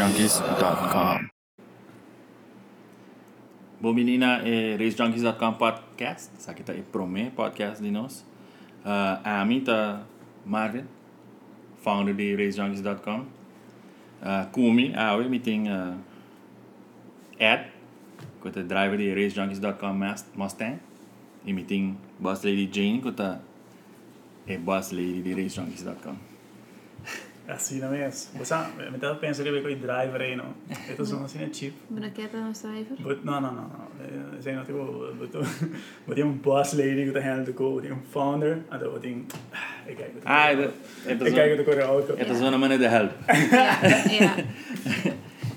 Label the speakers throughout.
Speaker 1: RaceJunkies.com.
Speaker 2: Bumili na eh, racejunkies.com podcast. Sa kita i-prome podcast dinos. Uh, ami ta Marvin, founder di racejunkies.com. Uh, kumi, awe, miting uh, Ed, kota driver di racejunkies.com Mas- Mustang. E miting boss lady Jane, kota e boss lady di racejunkies.com.
Speaker 3: Assina mes. Bosan, metà penso che con i driver e no. E tu sono assina cheap.
Speaker 4: Braqueta no driver.
Speaker 3: But no, no, no, no. Sei no tipo, but but un boss lady che ti handle go, un founder, and the thing. E kai.
Speaker 2: Ah, ito. Ito,
Speaker 3: E kai che corre auto.
Speaker 2: ito yeah. naman na help.
Speaker 4: yeah,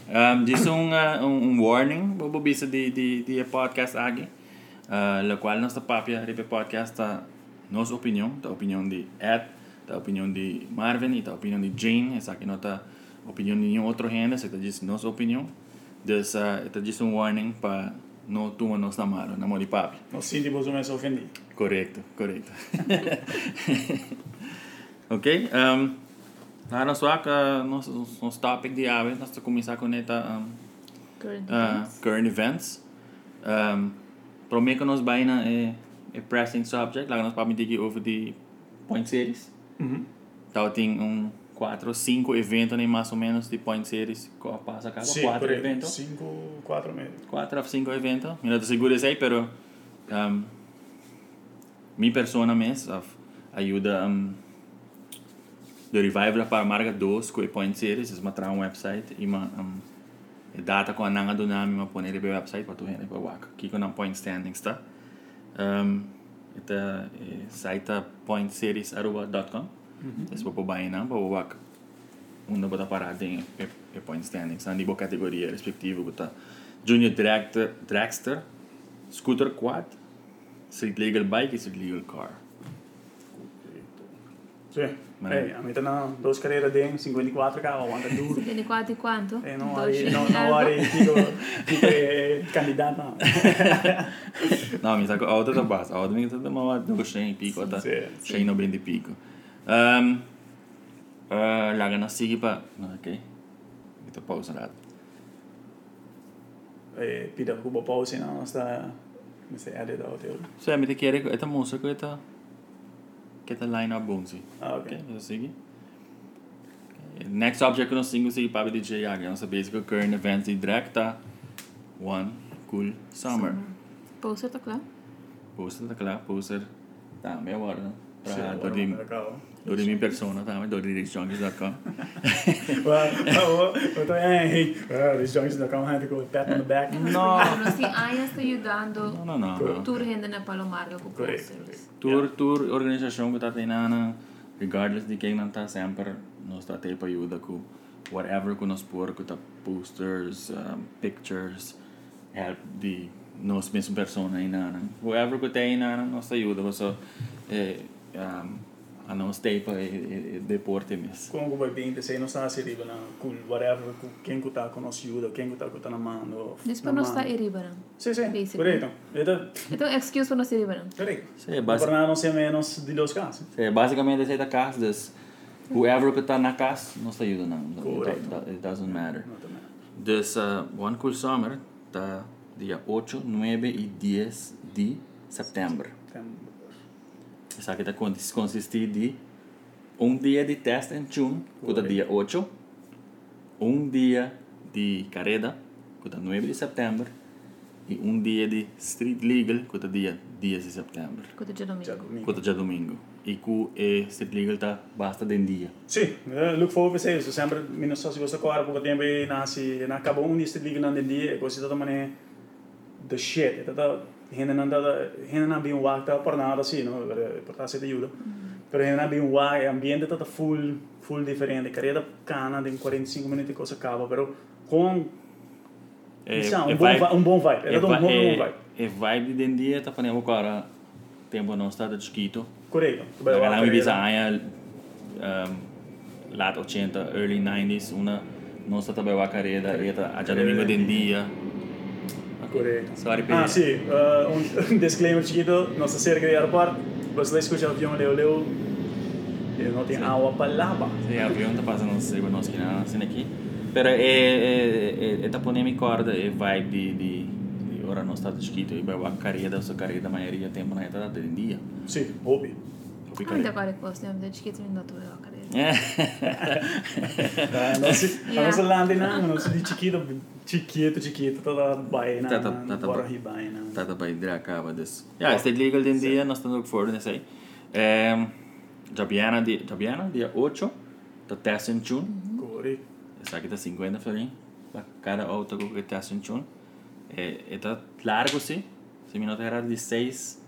Speaker 4: yeah.
Speaker 2: Um, disso um, uh, um, um warning, bobo bisa de, de, de podcast aqui, uh, la qual nossa papia repe podcast tá nossa opinião, tá opinião de Ed, tá opinião de Marvin e tá opinião de Jane, essa aqui não tá opinião de nenhum outro renda, essa tá diz nossa opinião, des, uh, esta diz um warning para não tuma nossa mano, na mão de papi.
Speaker 3: Non senti posso messo offendi.
Speaker 2: Correcto, correcto. ok, um, nada só que uh, nosso, nosso topic de ave, nós vamos começar com esta um,
Speaker 4: Current
Speaker 2: uh,
Speaker 3: Ah.
Speaker 4: events.
Speaker 2: current events. Um, Prometo que nós vai na eh, eh, pressing subject, lá nós vamos ter que over the point series.
Speaker 3: Mhm.
Speaker 2: Então tem um 4 5 eventos né, mais ou menos de point series, co- passa cada 4 eventos.
Speaker 3: 5 4 mesi.
Speaker 2: 4 a 5 eventos. Mira, te seguro sei, pero um, mi persona mes of ajuda um, de revival para marca 2 com point series, es matra um website e ma um, e data com a nanga do nami ma poner o website para tu rende para waka. Aqui com point standings tá. Um, ita e, site pointseries@.com. Es para bain na para waka. Unda bota parada em e, e point standings, na nível categoria respectivo, bota Junior Dragster, dragster Scooter Quad, Street Legal Bike e Street Legal Car.
Speaker 3: Sì.
Speaker 2: Ma-
Speaker 3: Eh, a metà na dos carriera de 54 cavo, quando duro.
Speaker 4: Viene qua di quanto?
Speaker 3: E non vari,
Speaker 4: Dolce.
Speaker 3: Eh, no, tipo, no vari, dico, dico candidata.
Speaker 2: Não, me sacou a outra da base. A outra me sacou uma do Shane Pico, tá?
Speaker 3: Sim,
Speaker 2: Shane no bem de Pico. Um, uh, laga na sigue pa... Não, ok. Ito pausa na
Speaker 3: E pida cubo pause, no, sta mi sei added out.
Speaker 2: So, me te quere... Ito musa ko ito... Kita line up bonzi.
Speaker 3: Ah, ok.
Speaker 2: Ok, ito sige. Next object ko na single sige pa DJ Yagi. Ang sa basic ko current events di Drekta. One Cool Summer.
Speaker 4: Poster to club.
Speaker 2: Poster takla, poster. Dami award na. Pra, do di,
Speaker 3: Guarda,
Speaker 2: do di mi persona, dami, do di richjonkies.com.
Speaker 3: oh, oh, oh, hey, oh, these junkies are coming hand to go with pat on the back.
Speaker 2: No.
Speaker 4: Non ah, si aia sta
Speaker 2: No,
Speaker 4: aiutando.
Speaker 2: no, no. no.
Speaker 4: Tu rende na Palomar con
Speaker 3: Corretto,
Speaker 4: posters.
Speaker 2: Tour, tour organização que tá treinando, regardless de quem não tá sempre, nós tá tendo ajuda com whatever que nós pôr, que tá posters, um, pictures, help de nós mesmo persona aí nana. Whatever que tem nana, nós tá ajuda, mas só eh, um, a não stay para e, deporte mesmo.
Speaker 3: Comunque poi vinto, se non sta si arriva cool, whatever, chi che ti conosciuto, chi che ti sta mano.
Speaker 4: Dici per non sta e ribaran.
Speaker 3: Sì, sì,
Speaker 4: Basic.
Speaker 3: corretto. Vedo,
Speaker 4: Então, excuse per non si ribaran.
Speaker 3: corretto.
Speaker 2: Sim,
Speaker 3: Per
Speaker 2: basic,
Speaker 3: non non sia meno di dos casi.
Speaker 2: sim, basicamente essa é da casa, des, whoever que tá na casa, nós tá ajuda não.
Speaker 3: Correto.
Speaker 2: It, it doesn't matter.
Speaker 3: No, no.
Speaker 2: This uh, One Cool Summer está dia 8, 9 e 10 de setembro. Isso aqui está consistir de um dia de test and tune, que está dia 8, um dia de carreda, que está 9 de setembro, e um dia de street legal, que está dia 10 de setembro,
Speaker 4: Quanto
Speaker 3: Già
Speaker 4: già domenica.
Speaker 2: que
Speaker 3: domenica.
Speaker 2: está dia domingo. E que é street legal está basta de um dia.
Speaker 3: Sì, eh, look forward to se sempre mi non so se questo corpo potrei avere nasi na cabo un dist lì non di e così tanto mane the shit e tata hena non tata hena non bi un walk ta per nada sì no per portarsi di aiuto però hena non bi un walk e ambiente tata full full differente carriera cana di 45 minuti cosa cavo però con
Speaker 2: É,
Speaker 3: diciamo,
Speaker 2: é
Speaker 3: un, buon
Speaker 2: vibe.
Speaker 3: ah, um vi- un buon vibe è
Speaker 2: E,
Speaker 3: stato un
Speaker 2: va-
Speaker 3: buon, buon
Speaker 2: e,
Speaker 3: vibe
Speaker 2: e vibe tá di Dendia sta facendo ancora tempo non stato scritto.
Speaker 3: corretto
Speaker 2: La
Speaker 3: bello
Speaker 2: galera mi bisogna um, late 80, early 90s, una non stata bella carriera e tá, a
Speaker 3: É.
Speaker 2: già domingo Dendia.
Speaker 3: Corretto.
Speaker 2: Sorry per
Speaker 3: Ah sì, eh, un disclaimer chiquito, nostra serie di aeroporto, você lei escucha o avião Leo Leo e não tem água para lá.
Speaker 2: Se a avião tá passando não sei, não sei nada, assim aqui. Pero é, é, é, é tá pondo corda, é vibe de, de, de ora não está escrito, e vai a carreira, sua carreira, maioria tempo é, na etapa tá, de dia.
Speaker 3: Sim, hobby.
Speaker 2: Eu
Speaker 4: Ah,
Speaker 2: ficaria.
Speaker 4: Inte kvar i kostym, det tycker jag inte att du har karriär.
Speaker 2: É.
Speaker 3: Ah, não se- A
Speaker 4: Yeah.
Speaker 3: nossa landa, não, não se de chiquito, chiquito, chiquito, toda baina,
Speaker 2: Tá, tá, tá, tá.
Speaker 3: bora ribaina.
Speaker 2: Tata para hidrar acaba desse. Ja, está legal de dia, nós estamos fora nesse aí. É, Jabiana, dia, Jabiana, dia 8, tá teste em June.
Speaker 3: Cori.
Speaker 2: Essa aqui tá 50 florin. Pra cada outra coisa que tá sentindo. É, é tá largo, sim. Se me nota era de 6.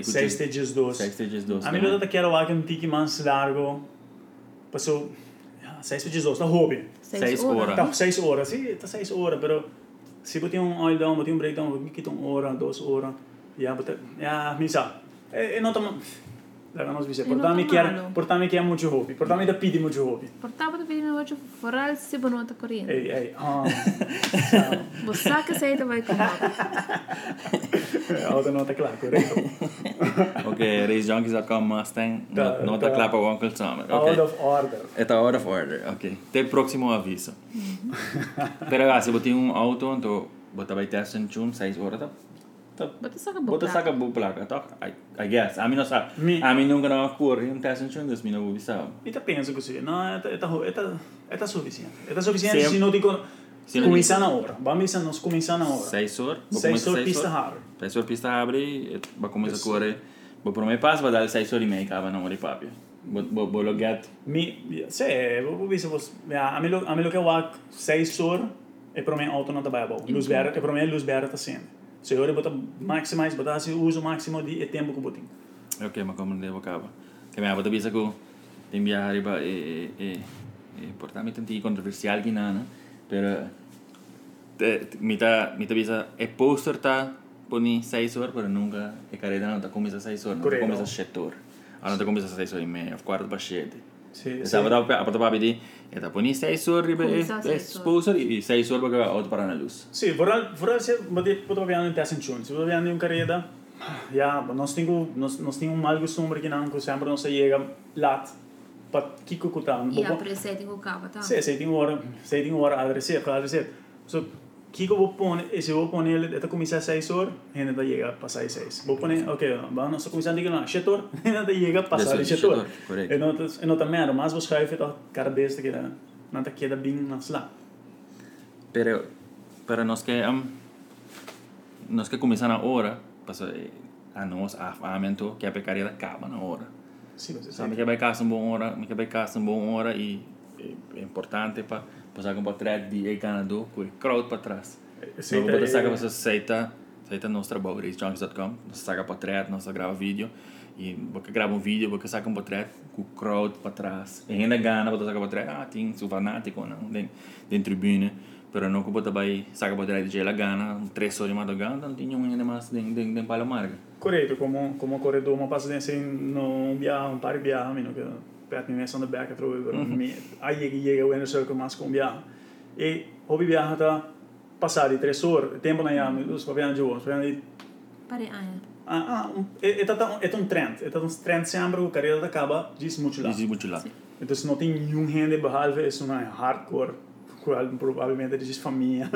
Speaker 3: Seis stages doce.
Speaker 2: 6 stages 12.
Speaker 3: A mim eu quero lá que um tique mais largo. Passou ah, seis stages doce, tá hobby.
Speaker 2: Seis horas.
Speaker 3: Tá seis horas, sim, tá seis horas, pero se botar um oil down, botar um breakdown, vou quitar uma hora, duas horas, já botar, já, misa, e não tamo, lá não se diz,
Speaker 4: E não
Speaker 3: portami
Speaker 4: tá
Speaker 3: que era,
Speaker 4: malo.
Speaker 3: portami que é muito hobby, portami da pidi muito hobby.
Speaker 4: Portava det vid min vart föräldrar sig på något korean.
Speaker 3: Ei, ei, ah,
Speaker 4: Bosaka säger det var ju komma.
Speaker 3: outra nota claro, correto.
Speaker 2: Ok, Reis Junkies a com uh, Mustang.
Speaker 3: Tá,
Speaker 2: Nota
Speaker 3: tá.
Speaker 2: clap ao Uncle Summer.
Speaker 3: Out
Speaker 2: Ok.
Speaker 3: of order.
Speaker 2: É tá out of order. Ok. Até próximo aviso. Pera lá, se botar um auto, então botar vai ter sentindo 6 horas. Tá, tá
Speaker 4: Bota saker
Speaker 2: Bota
Speaker 4: bota.
Speaker 2: saca bu placa, tá? I, I guess. A mim não sabe.
Speaker 3: Mi-
Speaker 2: A mim nunca não ocorre um teste em das minhas bubis, sabe?
Speaker 3: E tá pensa que sim, não, é tá, é tá, é tá, é tá suficiente. É tá suficiente
Speaker 2: Sim.
Speaker 3: se não digo,
Speaker 2: Sim.
Speaker 3: começar na hora, vamos começar, nós começar na hora.
Speaker 2: Seis horas. vou
Speaker 3: Seis
Speaker 2: começar
Speaker 3: horas pista hard.
Speaker 2: Seis horas pista abre, eh, vai começar a correr. Vou por meio passo, vai dar seis horas e meia, acaba não morrer papia. Vou- Vou vou logar.
Speaker 3: Mi, se, vi se vos, ja, a, me lo, a me lo que wak sei sur e pro me auto non tabaibo. Luz vera, e pro me luz vera ta sen. Se ore bota maximais, bota se uso máximo de e tempo que botin.
Speaker 2: Ok, mas como não devo acaba. Que minha bota pisa com tem viagem para e e e portar-me tanto controversial que nada, pero eh, mita mita pisa é poster tá poni seis horas, pero nunca é careta não tá começa seis horas, não tá
Speaker 3: Correto.
Speaker 2: começa sete horas. Ah, não tá começa seis horas e meia, quarto para sete.
Speaker 3: Se,
Speaker 2: Essa vada a porta para pedir, é tá poni eh, seis horas,
Speaker 4: Começa
Speaker 2: é
Speaker 4: seis
Speaker 2: exposure e seis horas para outro para na luz.
Speaker 3: Sì, vorrà, vorrà se potete potete andare in testa in ciun, se potete andare in carriera, ja, non stingo, non stingo un mal gusto perché non sembra non si llega lat, pat kiko kutan.
Speaker 4: Ja, precis. Det går kava. ta.
Speaker 3: Se, se tem hora, se tem hora adresser, para adresser. Så Kiko vou pôr, e se vou pôr nele, até começar 6 horas, ainda tá chega a passar 6. Vou pôr nele, ok, vamos só começar a dizer, não, 7 horas, ainda tá chega a passar
Speaker 2: Dessa-
Speaker 3: 7
Speaker 2: setor,
Speaker 3: horas.
Speaker 2: correct.
Speaker 3: E notas, e nota mera, mas vos chaife tá cara besta que era, não tá queda bem nas lá.
Speaker 2: Pero para nós que um, nós que começar na hora, passa eh, a nós a amento ah, que a pecaria acaba na hora.
Speaker 3: Sim, você
Speaker 2: Sabe
Speaker 3: sabe.
Speaker 2: que vai casa uma boa hora, me que vai casa uma boa hora e é- é importante para passar com para trás de ganador com o crowd para trás.
Speaker 3: Aceita,
Speaker 2: Então, vou botar
Speaker 3: eh,
Speaker 2: saca para você aceita, aceita nosso trabalho, racejunkies.com, você saca para trás, nós grava vídeo e porque grava um vídeo, porque saca um para trás com o crowd para trás. E ainda gana, botar saca para trás, ah, tem seu fanático não, tem, tem tribuna, pero não que botar vai saca para trás de ela gana, três horas de madrugada, não tinha um ainda mais de de de palomarga.
Speaker 3: Correto, como como corredor, uma passa dentro assim, não biar, um par de biar, mino que perto minha são da beca trouxe, aí que chega o energia que mais com biar. E hobby biar tá passar de 3 horas, tempo na jam, os pavian de hoje, pavian
Speaker 4: Pare eh. aja.
Speaker 3: Ah, ah, um- é, é, tata- é um trend, é um trend sempre o carreira da caba diz muito lá.
Speaker 2: Isso é muito lá.
Speaker 3: Então se não tem nenhum rende behalve, isso não é hardcore, qual provavelmente diz família,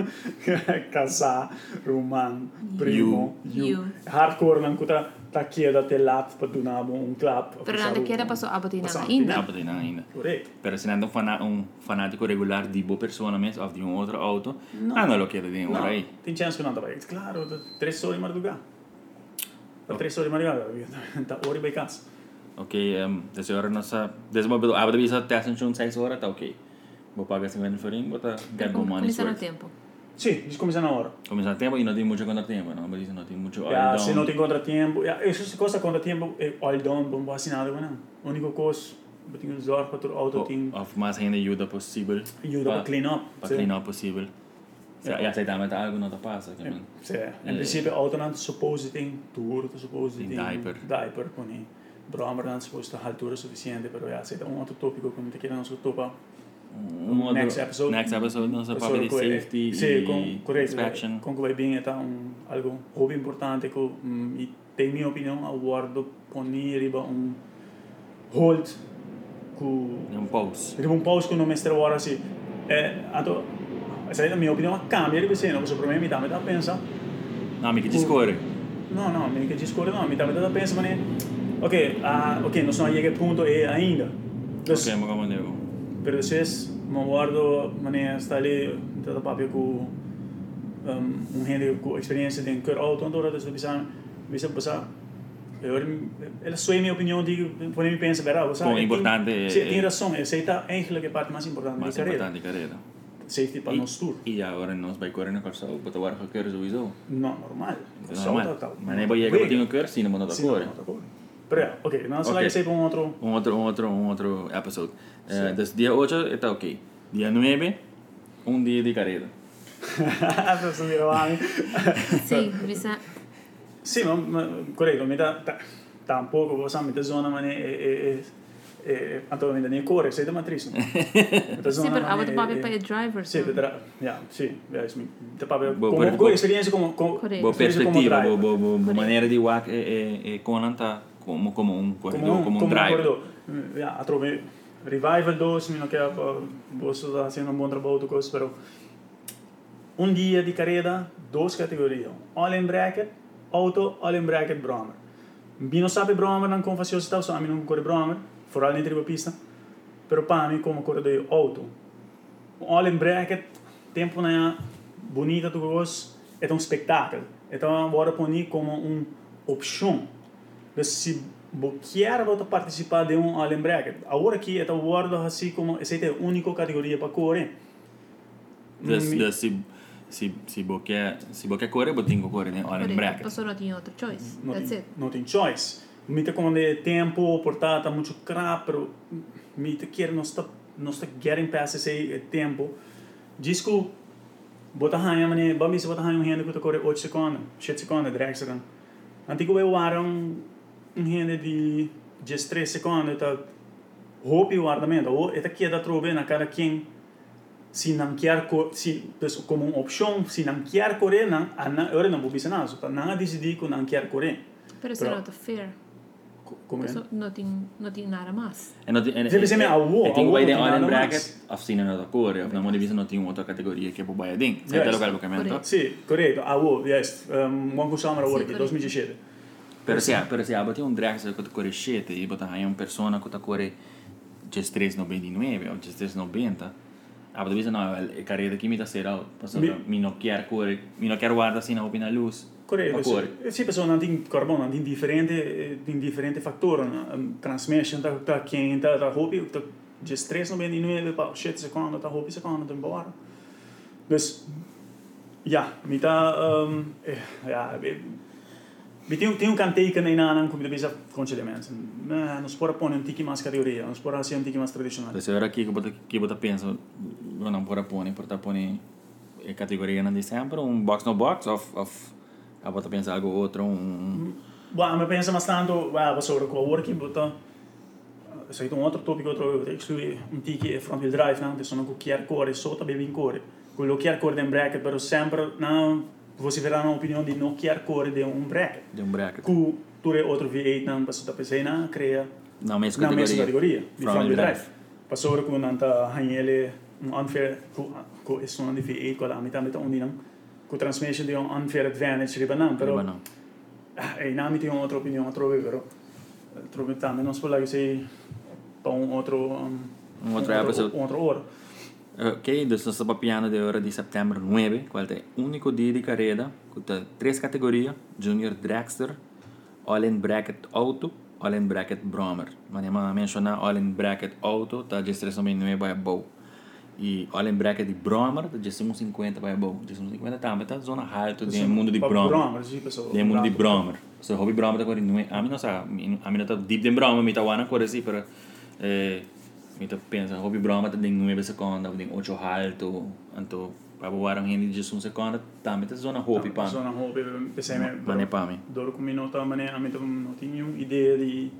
Speaker 3: casar, romano, primo,
Speaker 4: You. You.
Speaker 3: Hardcore não cuta tá queda até lá para donar um clap.
Speaker 4: För den andra kera passar abatina
Speaker 3: Passar
Speaker 4: innan.
Speaker 2: Não, não ainda.
Speaker 3: Correto.
Speaker 2: Pero se andando un, fana- un fanático regular de boa persona mesmo, ou de um outro auto, ah, não lo quero de um
Speaker 3: Não,
Speaker 2: hora aí.
Speaker 3: tem chance que não trabalha. Claro, tá- três horas de madrugada. Tá três horas de madrugada, tá hora e bem casa.
Speaker 2: Ok, um, dessa hora nossa. Dessa hora, abre a visa, até a gente 6 horas, tá ok. Vou pagar 50 forinhos, vou tá ganhar bom money.
Speaker 4: Começar no
Speaker 2: Começar
Speaker 4: tempo.
Speaker 3: Sim, diz começar na hora.
Speaker 2: a tempo e não tem muito contratempo, não, mas não tem muito
Speaker 3: Ja,
Speaker 2: hora.
Speaker 3: se não tem contratempo, ja, isso se custa contratempo, é all down, bom, bom assinado, não. A única coisa, eu tenho uns horas para outro
Speaker 2: Oh,
Speaker 3: auto, tem
Speaker 2: Ou mais ainda ajuda possível.
Speaker 3: ajuda para clean up.
Speaker 2: Para clean up possível. Se
Speaker 3: Ja.
Speaker 2: aceitar algo, não tá passa.
Speaker 3: Sim,
Speaker 2: Eh,
Speaker 3: em princípio, auto não supposto tem tour, supposto tem
Speaker 2: Tem diaper.
Speaker 3: diaper, com i bromar não supposto a altura suficiente, pero já, se é um outro tópico que não te quero não topa. Next episode.
Speaker 2: Next episode, nossa papo de safety
Speaker 3: sim,
Speaker 2: e
Speaker 3: com, correto,
Speaker 2: inspection.
Speaker 3: com que vai bem, então, um, algo hobby importante que, um, e tem minha opinião, aguardo punir riba um hold com
Speaker 2: Um pause.
Speaker 3: Riba um pause que não mestre hora assim, Eh, anto, se la mia opinione cambia di questo, non so, per me mi dà metà pensa,
Speaker 2: Não, me que discorre.
Speaker 3: no, no, mi che ci scorre, no, mi dà metà pensa, ma ne, ok, ah, ok, non sono arrivato al punto e ainda. Entonces,
Speaker 2: Ok, como digo.
Speaker 3: Pero después me guardo, mané, está ali, tata papia com um, um gente com experiência de um cur auto, então eu estou pensando, vista passar. Eu, ela só é minha opinião, digo, quando me pensa, verá, você
Speaker 2: Bom, importante é-
Speaker 3: Sim, tem
Speaker 2: é-
Speaker 3: razão, essa é a é a parte mais importante
Speaker 2: Más
Speaker 3: da carreira.
Speaker 2: importante carrera.
Speaker 3: Safety para o nosso tour.
Speaker 2: Y ahora nos va a correr en el calzado para trabajar con el suizo.
Speaker 3: Não, normal.
Speaker 2: Normal. Manejo llega que tengo que ver si no me lo corre.
Speaker 3: Pero, é, ok, não sei lá
Speaker 2: Ok.
Speaker 3: que sei para um outro.
Speaker 2: Un otro, un otro, un otro episodio. Eh, Entonces, día 8 está ok. Día 9, un día de carrera.
Speaker 3: Você vira lá, hein?
Speaker 4: Sim, é bisa.
Speaker 3: Sì, ma, ma corretto, mi dà ta- tampoco, cosa mi dà zona, ma ne e e e Antonio mi dà ne cuore, sei da matrice.
Speaker 4: Sim,
Speaker 3: Sì,
Speaker 4: per abota papi para driver.
Speaker 3: Sì,
Speaker 4: so.
Speaker 3: vedrà. Ja, sì, ja, sì, da papi
Speaker 2: Boh,
Speaker 3: come
Speaker 2: per-
Speaker 3: come esperienza come come
Speaker 4: Corretto.
Speaker 2: Boa
Speaker 3: esperienza come
Speaker 2: perspectiva,
Speaker 3: driver.
Speaker 2: boa, boa, boa maneira de Wack é, é, é Conan tá como, como um corredor, como um, driver.
Speaker 3: corridor. Mm, Ja, a trovi revival dos, ah, meno che posso sta facendo un buon lavoro questo, però un dia di carriera, dos categorie, all in bracket, auto, all in bracket Bromer. Bino sape Bromer non con facilità, so amino ancora Bromer, foralni tribo pista, però pami come corridoi auto. All in bracket, tempo na bonita tu gos, è un spettacolo. Então agora poni como um opção. Mas se boquear volta a participar de um all in bracket. Agora aqui é o guardo assim como essa é a única categoria para correr.
Speaker 2: Das, das, se, se, se boquer, se boquer correr, eu tenho que correr, né? Olha, em breca.
Speaker 4: Passou não tinha outra choice.
Speaker 3: não
Speaker 4: That's
Speaker 3: tem,
Speaker 4: it.
Speaker 3: não tem choice. Me te comandei tempo, portata, muito crapro. Me te quer, não está, não está getting past esse tempo. Disco, bota raia, mané, bami se bota raia um renda que eu tô corre 8 segundos, 7 segundos, 10 segundos. Antigo eu era um, um renda de 13 segundos, tá roupa e guardamento. Ou eta que é da trove na cara quem se não quer co- se pues, como uma opção, se não quer correr, não, a não, eu não vou pensar nada, tá? não decidi que não quer correr.
Speaker 4: Pero se
Speaker 3: Però-
Speaker 4: nota fair.
Speaker 3: Co- Como é?
Speaker 4: Passou não tinha não tinha nada mais.
Speaker 2: É, não tem- é-
Speaker 3: Você pensa,
Speaker 2: é-
Speaker 3: a uou,
Speaker 2: é, tem
Speaker 3: a
Speaker 2: o
Speaker 3: uou,
Speaker 2: Biden
Speaker 3: não tem
Speaker 2: Olha em
Speaker 3: nada
Speaker 2: bracket,
Speaker 3: mais.
Speaker 2: oficina não da cor, na Monivisa não tem outra categoria que é pro Biden. Sai
Speaker 3: Yes.
Speaker 2: até lugar para comentar.
Speaker 4: Correto.
Speaker 3: Sim, correto. Ah, o, yes. Um, one question number one,
Speaker 4: correto.
Speaker 3: 2017.
Speaker 2: Pero se há, pero se há, tem um drag que tá cor 7 e botar aí uma persona que tá cor 1399 ou 1390. A Monivisa não, é carreira que me tá será, passando,
Speaker 3: Mi-
Speaker 2: me não quer cor, me não quer guarda assim na opina luz.
Speaker 3: Correto.
Speaker 2: Pa cor.
Speaker 3: Sim, sim pessoal, não tem carbono, não tem diferente, eh, tem diferente fator. né? Um, transmission, tá, tá quem tá, tá roupa, tá de stress no bem, não é, pá, 7 segundos, tá roupa, segundos, tá embora. Dus, ja, me tá, um, eh, ja, eh, Vi tem, tem um canteiro na Inana com a conciliamento. Nós podemos pôr um tique mais categoria, nós podemos ser um tique mais tradicional.
Speaker 2: Dessa hora aqui que eu boto, que eu boto penso, eu não por apone, por apone é categoria não de sempre, um box no box, of, of, a boto pensa algo outro, um...
Speaker 3: Bom, mas pensa mas tanto, ah, vad sa du, coworking, utan så hittade hon outro tópico, outro, eu excluí um tique front wheel drive, não, que sono com chiarcore, sota bebe in core. Quello chiarcore de um bracket, però sempre, não, você verá uma opinião de não chiarcore de um bracket.
Speaker 2: de um bracket.
Speaker 3: Com tu é outro V8, não, passou da PC, não, cria
Speaker 2: Na mesma
Speaker 3: na mesma
Speaker 2: categoria.
Speaker 3: categoria, de front wheel drive.
Speaker 2: drive.
Speaker 3: Passou com nanta hanhele, um unfair, com esse nome de V8, com a mitad, mitad, onde não, com transmission de um unfair advantage, riba não,
Speaker 2: Pero
Speaker 3: però...
Speaker 2: bueno,
Speaker 3: Ah, e in ambiti un altro opinione trovi però eh, trovi tanto non spola che sei pa un altro um,
Speaker 2: Un altro episode.
Speaker 3: un altro ora
Speaker 2: ok, nós estamos piano de hora de setembro 9, qual é o único dia de carreira, com tá três categorias, Junior Dragster, All in Bracket Auto, All in Bracket Bromer. Mas eu mencionar All in Bracket Auto, tá de 3,99 vai bom. E All in Bracket de Bromer, tá de 1,50 vai bom. De 1,50 também tá zona alta do mundo de
Speaker 3: Pa-
Speaker 2: Bromer.
Speaker 3: Bromer sì pensavo
Speaker 2: De é mundo de Bromer. So, hobby Bromer tá correndo. A mim não sabe. A mim não tá deep de Bromer, me tá wana cor assim, para. Me tá pensa, hobby Bromer tá de 9 segundos, de 8 alto. Então, para boar um rende de 1 secondo, também tá zona hobby, pá.
Speaker 3: sono hobby pensavo
Speaker 2: Ma ne pami.
Speaker 3: doro come nota ma ne ammetto non ho idea di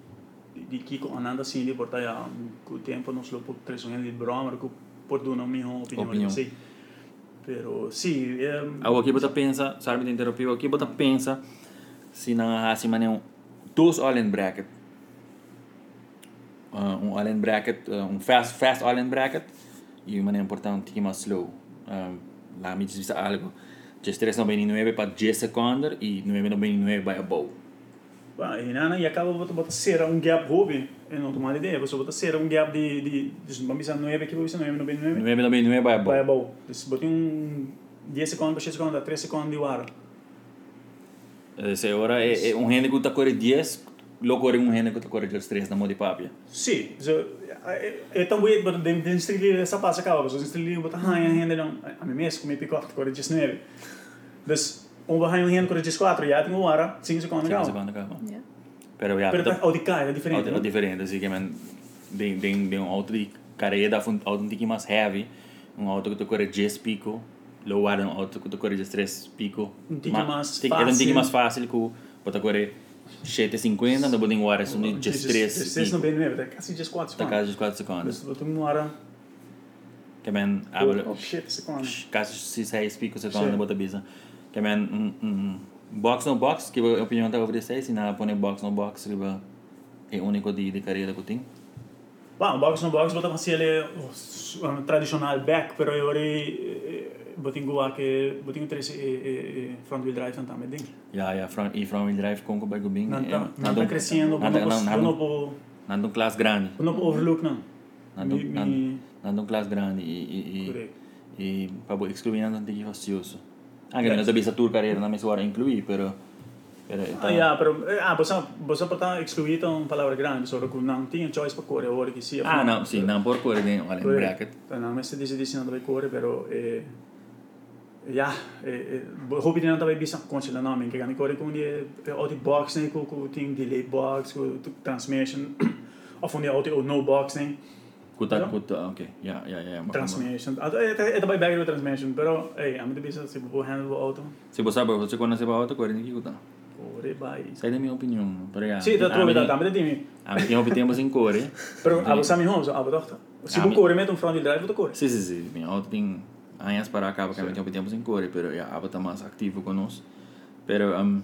Speaker 3: di, di chi andando assim di portare a mm, col tempo non solo per tre sogni di Bromer che per due non mi ho opinione
Speaker 2: Opinion.
Speaker 3: sì però sì ehm,
Speaker 2: Algo aqui bota pensa, sabe, te interrompi, aqui bota pensa, se não arrasse mais nenhum, dois all-in bracket. Uh, Ah, um all-in bracket, ah, um fast, fast all-in bracket, e uma maneira importante um pouquinho mais slow. Um, lá me desvista algo. 1399 para 10 segundos e 999 para above.
Speaker 3: Pá, E, né? não, não, e acaba bota, bota cera um gap hobby, eu não tomo uma ideia, você bota cera um gap de, de, de vamos dizer 9 aqui, vamos dizer 9, 9,
Speaker 2: é
Speaker 3: 9,
Speaker 2: 999 para
Speaker 3: é. vai
Speaker 2: above.
Speaker 3: bom. Você bota um 10 segundos, 6 segundos, 3 segundos de hora.
Speaker 2: Essa hora é, é um rende que está correndo 10, logo é um rende que está correndo 3 na mão de papia.
Speaker 3: Sim, so, é, é tão weird, mas de, de estrelinha essa passa acaba, pessoas estrelinha bota raia renda não, a mim mesmo comi picote com 19. Des um vai raia renda com 14, já tem uma hora, 5 segundos
Speaker 2: Sim,
Speaker 3: acaba.
Speaker 2: segundo acaba.
Speaker 4: Yeah.
Speaker 2: Pero já,
Speaker 3: Pero
Speaker 2: tá-
Speaker 3: tá, o de cara é diferente.
Speaker 2: É
Speaker 3: não?
Speaker 2: diferente, assim que man, tem, tem, tem um auto de carreira um auto um pouquinho mais heavy, um auto que toca 10 pico, low ar um auto que toca 3 pico.
Speaker 3: Um tiquinho
Speaker 2: Ma-
Speaker 3: mais
Speaker 2: tic- Era um
Speaker 3: fácil.
Speaker 2: tiquinho mais fácil que o bota correr 750, da botem hora são um de
Speaker 3: 16,
Speaker 2: 3
Speaker 3: não
Speaker 2: pico.
Speaker 3: bem 9, tá quase 14
Speaker 2: Tá quase
Speaker 3: segundos.
Speaker 2: 4 segundos.
Speaker 3: Des bota uma hora,
Speaker 2: Que man abre
Speaker 3: oh shit, segundos.
Speaker 2: quase 6 pico
Speaker 3: Sim.
Speaker 2: segundos da bota bisa. Que man um, um box no box, que a opinião tá over 6, e na põe box no box, que é o único de, de carreira que eu tenho.
Speaker 3: Bom, box no box bota assim ele um tradicional back, eh, pero eu ori botingo a que botingo três e, e, e eh, front wheel drive também, ding.
Speaker 2: Ja, ja, front, e front wheel drive com o Bago Bing.
Speaker 3: Não
Speaker 2: é,
Speaker 3: tá, não
Speaker 2: um-
Speaker 3: tá crescendo, não
Speaker 2: Nada, não, nada,
Speaker 3: não
Speaker 2: um-
Speaker 3: não
Speaker 2: nada um classe grande.
Speaker 3: não overlook não.
Speaker 2: Nada,
Speaker 3: Mi-
Speaker 2: um- nada,
Speaker 3: mi-
Speaker 2: nada um classe grande. E, e,
Speaker 3: Correto.
Speaker 2: e, e para excluir nada de que facioso. Anche nella tua tua carriera non mi si vuole incluire, però... però
Speaker 3: Ah, yeah, pero eh, ah, você você pode excluir uma palavra grande, só que não tinha choice para cor, agora que sim.
Speaker 2: ah, não, sim, não por cor, né? Olha, um bracket.
Speaker 3: é. Não, mas se diz diz não vai cor, pero eh ja, eh hobi não também bisa conchila nome, que ganha cor com de auto box nem com com tem delay box, com transmission, of on the auto no box nem.
Speaker 2: Cuta,
Speaker 3: Però-
Speaker 2: cuta, ok. Yeah, yeah, yeah. ma-
Speaker 3: Transmission. É também bagulho transmission, pero ei, I'm the business se vou handle o auto. é
Speaker 2: Se você sabe, você conhece para outra cor, né? Que cuta.
Speaker 3: Ore bai.
Speaker 2: Sai da minha opinião, por aí.
Speaker 3: Sì, da trovi da tambe dimmi.
Speaker 2: A minha opinião é sem cor, né?
Speaker 3: Però abo sami homes, abo dochter. Se
Speaker 2: Ah,
Speaker 3: bu
Speaker 2: mi-
Speaker 3: cor met un front wheel um drive, bu cor.
Speaker 2: Sim, sim, sim. Minha auto tem anhas para acaba, que a minha tempo em cor, pero a aba está mais ativo conosco. Pero um,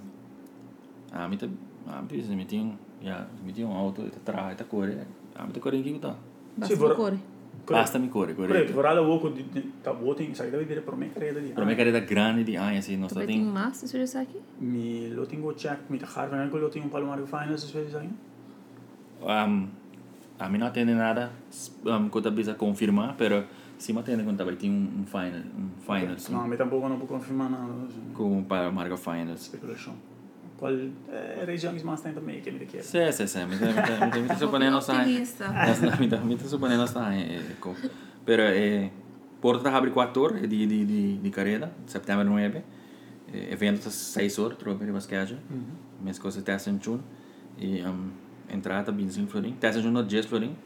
Speaker 2: a mim tá, a mim se me tem, já, se me tem um auto, está traga, está cor, a mim tá cor em que tá.
Speaker 4: Basta
Speaker 3: vorrà-
Speaker 4: cuore.
Speaker 2: Basta me cor,
Speaker 3: Correto,
Speaker 2: cor.
Speaker 3: vorrà la voco di ta voting, sai da vedere per me creda di.
Speaker 2: Para mim carreira grande de anhas assim, nós
Speaker 4: Tu
Speaker 2: tá
Speaker 4: tem
Speaker 2: tem.
Speaker 4: massa, você já sabe aqui?
Speaker 3: Mi lo tengo check, mi tajar, van con lo tengo un palomar finals, se vedi sai.
Speaker 2: Um, a mim não atende nada, um, que eu precisa confirmar, pero se me atende quando vai ter um, um final, um finals,
Speaker 3: No,
Speaker 2: um,
Speaker 3: mi tampoco non può confermare nada.
Speaker 2: com para marca finals.
Speaker 3: Speculation. Qual eh, região que mais tem também que me quer?
Speaker 2: Sim, sim, sim, me tá, me tá, me tá suponendo nossa.
Speaker 4: Otimista.
Speaker 2: Nós não me dá muita suponendo está é, com pero é Porto tá abre 4 horas de de de de carreira, setembro 9. É, evento tá 6 horas, troca de basquete. Mas coisa tá sem chun e um entrada bem sem florim. Tá sem chun no 10 florim.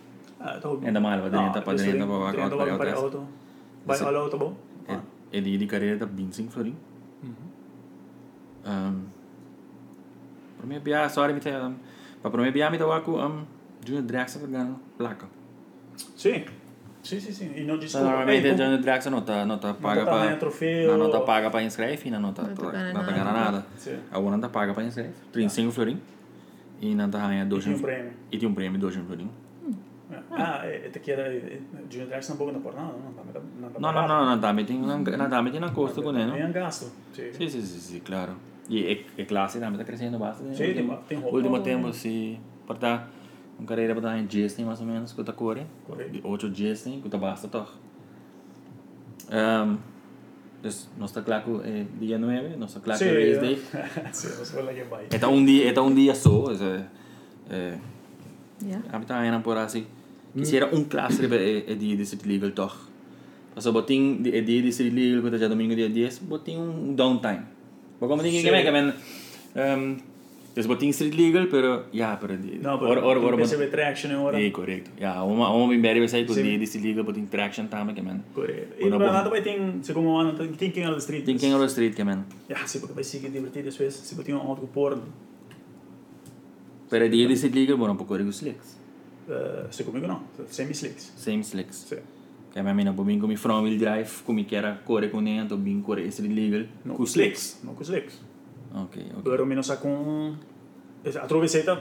Speaker 3: Ah, tô.
Speaker 2: Ainda mal, vai dentro, pra dentro, pra vaca,
Speaker 3: dentro,
Speaker 2: pra
Speaker 3: pra
Speaker 2: outras.
Speaker 3: auto. Vai
Speaker 2: Esse-
Speaker 3: ao auto, bom?
Speaker 2: É, é de de carreira tá bem sem florim. Um Para mim bia, sorry, me tá um, para mim bia me tá vaco um Junior Drax tá ganhando placa.
Speaker 3: Sim. Sim, sim, sim. E não desculpa.
Speaker 2: Tá Normalmente
Speaker 3: boh,
Speaker 2: o Junior Drax não tá não tá paga
Speaker 3: tá
Speaker 2: para
Speaker 3: ganhando troféu.
Speaker 2: não tá paga para inscrever, não tá não tá
Speaker 4: Non ti pagano
Speaker 2: ganhando
Speaker 4: nada.
Speaker 2: nada.
Speaker 3: Sim.
Speaker 2: A Wanda paga para inscrever, 35 florim. E não tá ganhando dois
Speaker 3: Tinha um prêmio. Tá
Speaker 2: E tem um prêmio dois florim.
Speaker 3: Ah, é que era Junior Drax não pouco não por nada, não tá não tá.
Speaker 2: Não, não, não, não tá metindo, não tá metindo na costa com ele, não.
Speaker 3: Nem gasto. Sim.
Speaker 2: Sim, sim, sim, sim, claro. E é, é classe também tá crescendo bastante.
Speaker 3: Sim, tem-
Speaker 2: Último-
Speaker 3: tem roupa.
Speaker 2: Último tempo se para tá uma carreira para dar em dias tem mais ou menos que tá corre.
Speaker 3: Correto.
Speaker 2: De 8 dias tem que tá basta tá. Ehm Então, nós tá claro que é dia 9, nós tá claro que é race day. Eh,
Speaker 3: Sim, você vai lá que vai.
Speaker 2: Está un día, está un día solo. É, é,
Speaker 4: Yeah.
Speaker 2: a mí también por así.
Speaker 3: Mm.
Speaker 2: Quisiera un clase de el día de Street Legal toch. Mas eu botei o dia de Street Legal, que já domingo dia 10, botei um downtime. Mas como tem que
Speaker 3: Sì.
Speaker 2: ver, que men... Um, eu botei Street Legal, pero... Ya, pero...
Speaker 3: Não,
Speaker 2: Or, or, or,
Speaker 3: porque você vê traction em hora.
Speaker 2: É, correto. Ya, uma, uma bem bem vai sair com o
Speaker 3: Sì.
Speaker 2: dia de Street Legal, botei traction também, que men...
Speaker 3: Correto. E
Speaker 2: Una buona-
Speaker 3: nada vai ter, se como ano, tem quem anda street.
Speaker 2: Tem quem é o Street, que men...
Speaker 3: Ja, Ah, se porque vai ser divertido às vezes, se botinha um outro porno.
Speaker 2: Pero dia de Street Legal, bora um pouco de slicks.
Speaker 3: Uh, se comigo não, semi-slicks.
Speaker 2: Same slicks.
Speaker 3: Sim.
Speaker 2: Que a minha mina por mim comi from wheel drive, comi que era core com dentro, bem core street legal,
Speaker 3: Não
Speaker 2: com slicks.
Speaker 3: Não com slicks.
Speaker 2: Ok, ok.
Speaker 3: Agora o menos com... A travesseta,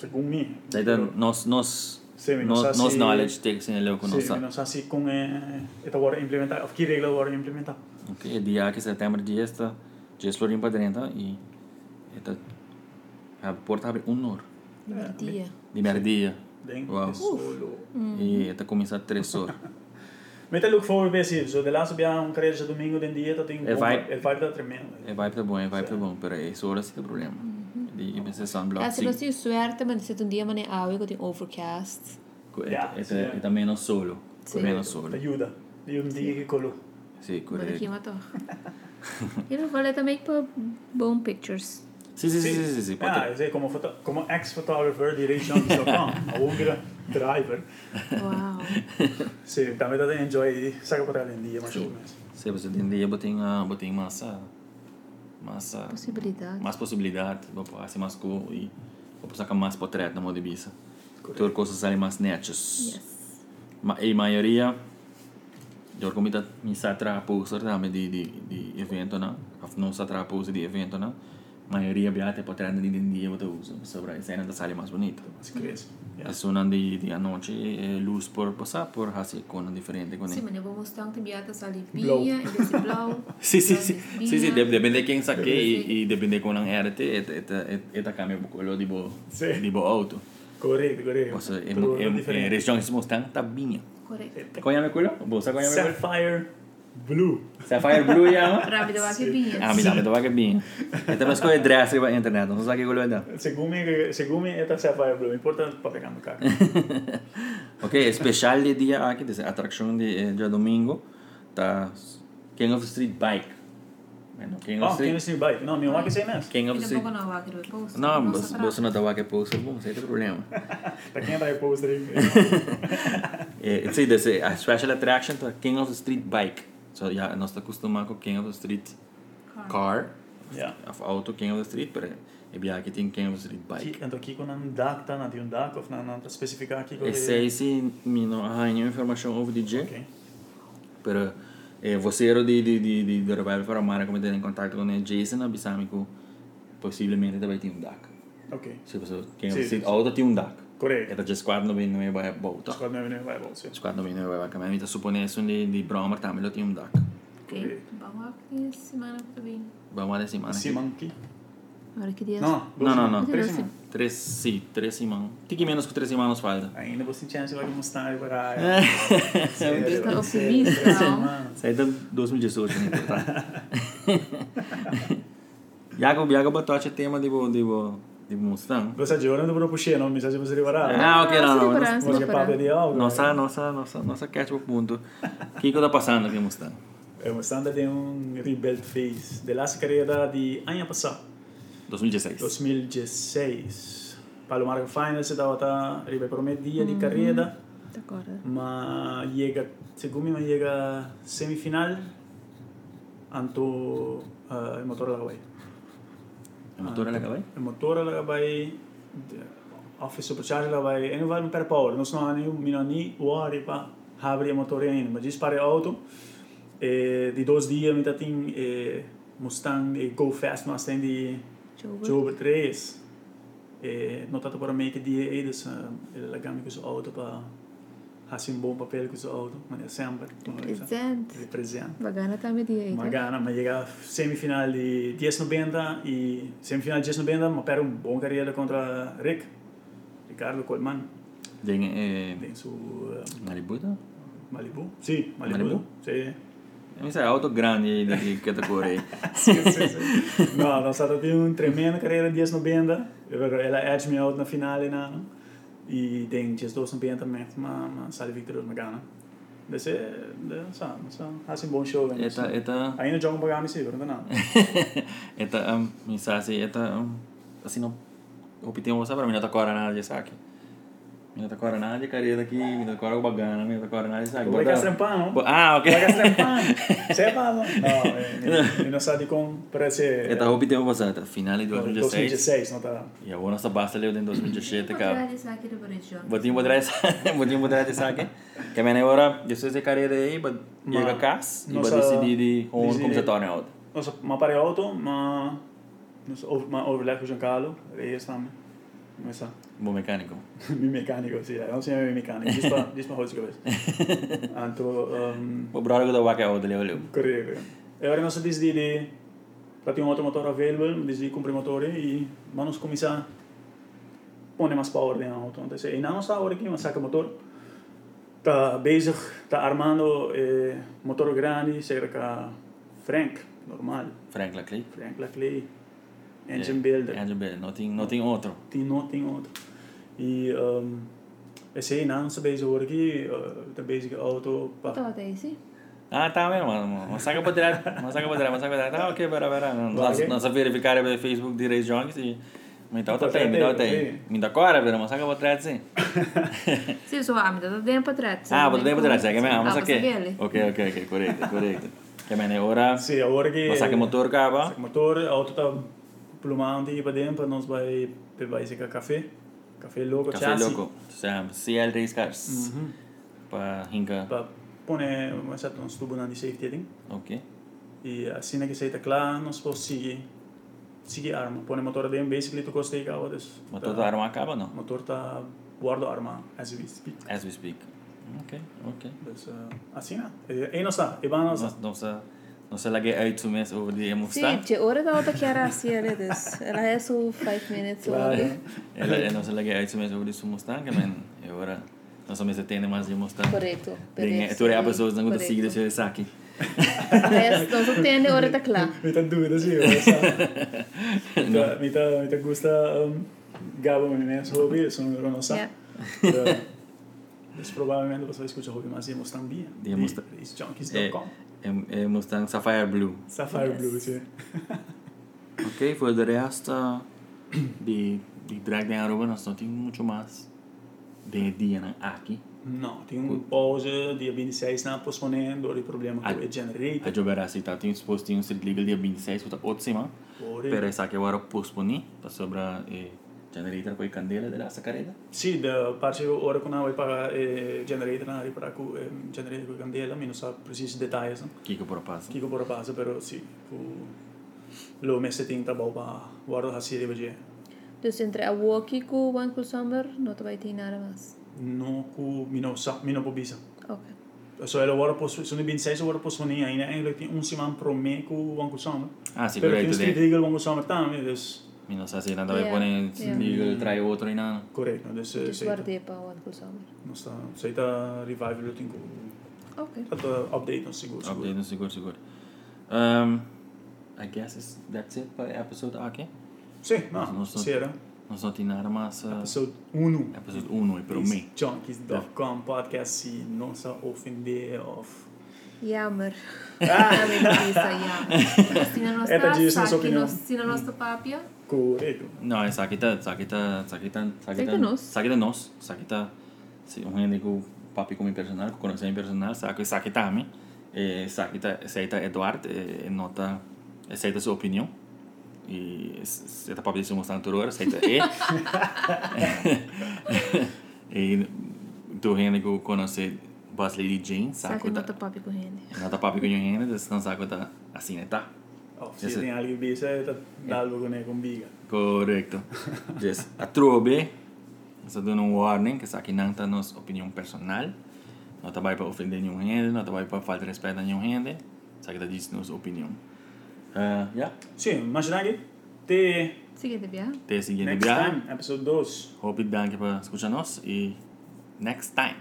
Speaker 3: segundo mim.
Speaker 2: Daí tá, nós, nós,
Speaker 3: Tipo, Sim,
Speaker 2: Nos,
Speaker 3: assim,
Speaker 2: nos knowledge tem que ser um ele com
Speaker 3: Sim,
Speaker 2: nossa.
Speaker 3: nós assim com eh, esta hora implementar, of que regra agora implementar.
Speaker 2: Ok, é dia que setembro dia está, dia florim para dentro tá? e está a porta abre um nor.
Speaker 4: Dia.
Speaker 2: Primeiro dia
Speaker 3: Bem,
Speaker 2: Wow.
Speaker 3: é solo.
Speaker 2: e está começar três horas.
Speaker 3: Mas eu look forward para isso. So, de lá subir um crédito domingo de dia, tá tem
Speaker 2: É vibe.
Speaker 3: É vibe tá tremendo.
Speaker 2: É vai para bom, é vai para bom, pero é isso hora se tem problema. E pensa só um bloco.
Speaker 4: Alltså, då ser ju svärta, men det är en um dia ah, man är avig och det är overcast.
Speaker 3: Yeah,
Speaker 2: É
Speaker 3: yeah.
Speaker 2: é também não solo,
Speaker 4: Sim.
Speaker 2: também não solo.
Speaker 3: Ajuda. E um dia que colou.
Speaker 2: Sim,
Speaker 4: Men det
Speaker 2: correto.
Speaker 4: kan man ta. I alla fall, jag tar mig på bone pictures.
Speaker 2: Sim, sim, sim, sim, sim, sim.
Speaker 3: Ah, eu sei como, foto, como ex-photographer de região de Japão, a húngara, driver.
Speaker 4: Wow.
Speaker 3: Sim, também tá tendo enjoy. Saca para trás de dia, mas
Speaker 2: Sim.
Speaker 3: eu mesmo.
Speaker 2: Se você tem dia, você tem, ah, você tem massa, massa,
Speaker 4: Possibilitet.
Speaker 2: mais possibilidade, você pode fazer mais coisas e você saca mais portrait na moda bisa. Tudo coisas saem mais netas.
Speaker 4: Yes.
Speaker 2: Ma, e maioria, eu comida me satraposa também de, de, de evento, não? Of não satraposa de evento, não? Maioria beate portrait de dia, você usa, sobre a cena da sala mais bonita.
Speaker 3: Mas cresce. Yeah.
Speaker 2: A zona de, de anoche, eh, luz por passar, por fazer coisas diferentes com
Speaker 4: Sì,
Speaker 2: ele.
Speaker 4: ma ne avevo mostrato anche Beata
Speaker 3: Blow.
Speaker 4: Salivia, invece Blow.
Speaker 2: Sim, sim,
Speaker 4: Blow
Speaker 2: sim.
Speaker 4: di
Speaker 2: Sim, sim,
Speaker 4: Spina.
Speaker 2: de- depende de quem saque
Speaker 4: Depende.
Speaker 2: e, e depende com quem era, te, te, te, te, te cambia o color de bo,
Speaker 3: Sim.
Speaker 2: de bo tipo, auto.
Speaker 3: Correto, correto.
Speaker 2: Ou seja,
Speaker 3: Tudo
Speaker 2: em região que se mostram, tá binha.
Speaker 4: Corretto.
Speaker 2: Conhece meu color? Você conhece meu color?
Speaker 3: Sapphire Blue.
Speaker 2: Sapphire Blue, yeah?
Speaker 4: Rapido va che
Speaker 2: Ah,
Speaker 4: vince.
Speaker 2: me dá, me dá que é binha. Então, mas escolhe dress na internet, não sabe que color é da.
Speaker 3: Segumi, segumi esta Sapphire Blue. Importante para pegar no carro.
Speaker 2: Ok, especial de ah, dia aqui, desse atração de eh, dia domingo, tá King of the Street Bike. Bueno, King of
Speaker 3: Oh,
Speaker 2: the
Speaker 3: tiene
Speaker 2: Street.
Speaker 3: sin bike. No, mi mamá que se mes.
Speaker 2: King of the
Speaker 4: Quindi un
Speaker 2: Street.
Speaker 4: poco non va che dove posto.
Speaker 2: Não,
Speaker 4: non
Speaker 2: você
Speaker 4: saprà.
Speaker 2: você não estava que pulsa, bom, sem problema.
Speaker 3: Está quem vai pôr os drinks.
Speaker 2: Eh, sí, desde a special attraction to a King of the Street bike. So ya no está acostumbrado con King of the Street
Speaker 4: Car.
Speaker 2: car,
Speaker 3: Yeah.
Speaker 2: of auto King of the Street, pero eh, ya aquí tiene King of the Street bike.
Speaker 3: Então aqui quando um DAC tá na de um DAC, ou na, na especificar aqui com
Speaker 2: Esse aí sim, me não há nenhuma informação over DJ,
Speaker 3: Ok.
Speaker 2: pero eh, você era de, de, de, de, de Revival para Mara, como tem contato com o Jason, avisar-me que possivelmente também tem um DAC.
Speaker 3: Ok.
Speaker 2: Se você King of the
Speaker 3: Sì,
Speaker 2: Street
Speaker 3: sì.
Speaker 2: auto tem um DAC.
Speaker 3: Correto.
Speaker 2: Era de squadra 99 vai a volta.
Speaker 3: Squad 99 vai bolsa.
Speaker 2: Squadra 99 vai a caminhar, então suponesse um de, de Bromer também tem um DAC.
Speaker 4: Ok. Vamos é a settimana per vince.
Speaker 2: Vamos a decir, mano.
Speaker 3: Simon aqui.
Speaker 4: Ora che dia. é
Speaker 3: Não,
Speaker 2: Não, não, não.
Speaker 3: Três Simon.
Speaker 2: Três, sim, três semanas. Tem que Um menos que três semanas falta.
Speaker 3: Ainda vou sentir antes de mostrar e parar.
Speaker 4: Tá otimista, não?
Speaker 2: Isso aí tá 2018, né? Tá. Iago, Iago Batote é tema de, bo- de, bo- de Mustang.
Speaker 3: Você tá de ouro não vou puxar, não, mensagem você reparar.
Speaker 2: Ah, ok,
Speaker 4: Ah,
Speaker 2: não,
Speaker 4: se
Speaker 2: não.
Speaker 4: preparar, se
Speaker 3: Você é papo
Speaker 4: preparar.
Speaker 3: de algo.
Speaker 2: Nossa, nossa, nossa, nossa catch pro ponto. O que que tá passando aqui, Mustang?
Speaker 3: É uma standard de um rebuild phase. De lá se queria de ano passado.
Speaker 2: 2016.
Speaker 3: 2016. Palomar Finals estava tá ribe por meio de carreira,
Speaker 4: D'accordo.
Speaker 3: mas chega, segundo me, chega semifinal anto uh, o motor lá vai.
Speaker 2: A motora ela acabou?
Speaker 3: O motor lá vai off supercharge lá vai, e não vai per power, não são nem um minuto nem o hora para abrir o motor ainda, mas diz para auto. E, de dois dias me tá tem eh, Mustang e Go Fast Mustang de
Speaker 4: Ciao.
Speaker 3: Job 3 eh, notato per me che die edes eh, il legame con auto pa ha un buon papel con auto ma è sempre
Speaker 4: Presente.
Speaker 3: presente
Speaker 4: Vagana tam di
Speaker 2: Então?
Speaker 4: ei.
Speaker 3: ma gana ma llega semifinal di 1090 e semifinal di 1090 ma per un buon carriera contro Rick Riccardo Coleman
Speaker 2: Tem, eh, tá?
Speaker 3: in su eh,
Speaker 2: Maributa?
Speaker 3: Malibu sì Malibu,
Speaker 2: Malibu?
Speaker 3: sì
Speaker 2: Não sei, é auto grande de, de categoria aí.
Speaker 3: Sì, sì, sì. no, non è stata più un tremenda carriera di Esnobenda, la edge mi out na finale na e tem dias dois no benta mesmo, ma ma sale Victor Magana. eh, Desse, de, sa, ma sa, ha sin bom show. né?
Speaker 2: Eta, eta...
Speaker 3: Ainda joga um bagame seguro, não.
Speaker 2: Eta, um, misasi, eta, um, assim, não, repetimos você para mim, não tá cora nada de saque. Não tá cora nada de careta aqui, não tá cora bagana, não tá cora nada de saque.
Speaker 3: Vai castrampan, não?
Speaker 2: Ah, ok.
Speaker 3: Vai castrampan. Você fala. eh, Não, ele não sabe como parece
Speaker 2: Eta, repetimos você, tá, final de 2016.
Speaker 3: 2016, não tá.
Speaker 2: E agora nossa basta leu em 2017, cara.
Speaker 4: Potrei sa che lo pareggio.
Speaker 2: Botinho poderá de saque, botinho poderá de saque. Que a minha hora, eu sei se carreira aí, mas
Speaker 3: Ma-
Speaker 2: chega casa e vai
Speaker 3: nossa-
Speaker 2: decidir de onde
Speaker 3: decidi-
Speaker 2: como se torna outra.
Speaker 3: Nossa, ma pare auto, ma não sei, ma overlap com o Giancarlo, ele está Mas só.
Speaker 2: Bom mecânico.
Speaker 3: Min mekaniker sier det. Han sier min mekaniker. De som- De som har hodeskvis. Anto um,
Speaker 2: Bom, brother, da waka o dele olho.
Speaker 3: Correio. Eu era nosso diz de de para ter um outro motor available, diz de comprar motor e vamos começar põe mais power na auto. Então, se ainda não está hora que mas saca motor. Tá bezig, tá armando eh, motor grande, cerca Frank, normal,
Speaker 2: Frank Laclay.
Speaker 3: Frank Laclay, engine builder.
Speaker 2: Engine builder. Não tem, não tem outro.
Speaker 3: tem não tem outro e um, esse aí não se beija o aqui da basic eh, auto pá
Speaker 4: Tá, Daisy.
Speaker 2: Ah, tá mesmo. Uma saca para tirar. Uma saca para tirar. Uma saca para tirar. Tá, ok, pera, pera. Nós,
Speaker 3: Oké.
Speaker 2: nós verificar o Facebook de Race Jongs e... Me dá outra
Speaker 3: Oké,
Speaker 2: tem, me dá
Speaker 3: oké,
Speaker 2: outra tem.
Speaker 3: oké.
Speaker 2: Me dá cora, pera. Uma saca para tirar, sim.
Speaker 4: Sim, sou a amiga, tá dentro pra trás.
Speaker 2: Ah, vou dar para tirar. Que é
Speaker 4: Ah,
Speaker 2: mesmo. Mas
Speaker 4: você
Speaker 2: aqui.
Speaker 4: vê ele?
Speaker 2: Ok, ok, ok. Correto, correto. Que é hora.
Speaker 3: se a hora que
Speaker 2: Uma saca motor cava.
Speaker 3: saca motor a auto tá plumando e para dentro nós vai pegar esse café café louco
Speaker 2: Café Loco. Sam, CL Race
Speaker 3: Uhum.
Speaker 2: Cars.
Speaker 3: Mhm.
Speaker 2: Para Hinka.
Speaker 3: para pôr um certo uns tubos na de safety ali
Speaker 2: Ok.
Speaker 3: e assim que se tá claro nós podemos seguir seguir arma põe motor dentro basically tu gostei que a outra
Speaker 2: Mas toda arma acaba, não?
Speaker 3: motor tá guardo arma as we speak
Speaker 2: As we speak. Ok, ok.
Speaker 3: Dus, eh, assim né e não está e vamos
Speaker 2: Nós, nós, nós laguei aí tu mês over de
Speaker 4: Sim,
Speaker 2: Mustang.
Speaker 4: de hora da outra que era assim, ela diz. Ela é só 5 minutes.
Speaker 3: Claro.
Speaker 2: Ela nós laguei aí tu mês over de Mustang, man. E agora nós também temos mais de Mustang.
Speaker 4: Correto.
Speaker 2: Tem, tu é a pessoa que não
Speaker 4: Correto.
Speaker 2: consegue deixar isso aqui.
Speaker 4: Yes, não só tem de hora da clá.
Speaker 3: Muita dúvida, sim. Muita, muita, muita gusta um, Gabo, né? Esse hobby, são eu não sei.
Speaker 4: Yeah.
Speaker 3: Mas provavelmente você escuta hobby mais de Mustang Bia.
Speaker 2: De Mustang.
Speaker 3: Racejunkies.com.
Speaker 2: Eh. É, é Mustang Sapphire Blue.
Speaker 3: Sapphire
Speaker 4: Yes.
Speaker 3: Blue, sim.
Speaker 2: Ok, foi de resto de, de drag de Aruba, nós não temos muito mais de dia né, aqui.
Speaker 3: Não, tem um pause dia 26 na posponendo o problema
Speaker 2: Ah.
Speaker 3: com o generator.
Speaker 2: A jogar assim, tá? Tem suposto tem um street legal dia 26, que tá outra semana. Pero
Speaker 3: Por
Speaker 2: essa que agora posponi, tá sobre a eh, generator com candela de la sacareda.
Speaker 3: Sì, da parte ora con noi para eh, generator na para ku eh, generator con candela, minus sa precisi dettagli. no?
Speaker 2: Que que por passa?
Speaker 3: Kiko por base, pero sì, fu lo mese tinta boba, guardo a serie perché
Speaker 4: Então, entre a walkie com o One Cool Summer, no, não te vai ter nada mais.
Speaker 3: no ku mino sa mino po bisa.
Speaker 4: Ok.
Speaker 3: Så eller var på så ni bin seis var på sån ena inne egentlig un siman pro me ku wan ku sama.
Speaker 2: Ah, sim,
Speaker 3: Pero
Speaker 2: correto.
Speaker 3: tienes que
Speaker 2: De,
Speaker 3: diga wan ku sama tam, es
Speaker 2: não sei se ainda vai
Speaker 4: Yeah,
Speaker 2: poner
Speaker 4: yeah.
Speaker 2: legal, trai outro e nada.
Speaker 3: correcto, des
Speaker 4: Eu
Speaker 3: se
Speaker 4: guardei para o One Cool Summer.
Speaker 3: no sta se ta revive lo tinko.
Speaker 4: Ok.
Speaker 3: Tanto update no seguro.
Speaker 2: Update no seguro, seguro. Um, I guess it's, that's it para Ah, episode aqui.
Speaker 3: Sì,
Speaker 2: No,
Speaker 3: no,
Speaker 2: non so.
Speaker 3: sera.
Speaker 2: Nós não temos nada mais. Uh,
Speaker 3: Episode 1.
Speaker 2: episode 1 é para mim.
Speaker 3: Junkies.com podcast si non sa offende of
Speaker 4: Jammer. Ah. Jammer. Se não
Speaker 3: Eta
Speaker 4: está,
Speaker 3: diz na sua
Speaker 4: saque
Speaker 3: opinião.
Speaker 4: nos, se não está papia.
Speaker 3: corretto.
Speaker 2: Não, é saquita, saquita, saquita,
Speaker 4: Saquita nós.
Speaker 2: Saquita nós. Saquita, se um gente com papi como personal, com conhecimento personal, saque, saquita a mim. É, saquita, aceita Eduardo, é, nota, aceita sua opinião. E aceita papi de mostrar anterior, aceita e. e tu gente que conhece Boss Lady Jane,
Speaker 4: Saque não
Speaker 2: saquita.
Speaker 4: está papia com ele.
Speaker 2: Nota papi com gente, então saquita assim, tá?
Speaker 3: Oh,
Speaker 2: Ja,
Speaker 3: se
Speaker 2: se-
Speaker 3: tem alguém bisa, dá-lo com com biga.
Speaker 2: Correcto. Yes. A trobe, essa dando um warning, que essa aqui não está nossa opinião personal. Não está para ofender nenhum gente, não está para falta de respeito a nenhum gente. Essa aqui está dizendo nossa opinião. Uh, yeah.
Speaker 3: Sim, imagina que te
Speaker 4: Seguinte, Bia.
Speaker 2: Até a seguinte
Speaker 3: next
Speaker 2: viagem.
Speaker 3: time, episode 2.
Speaker 2: Hope you danke para escutar nós e next time.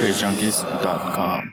Speaker 2: RaceJunkies.com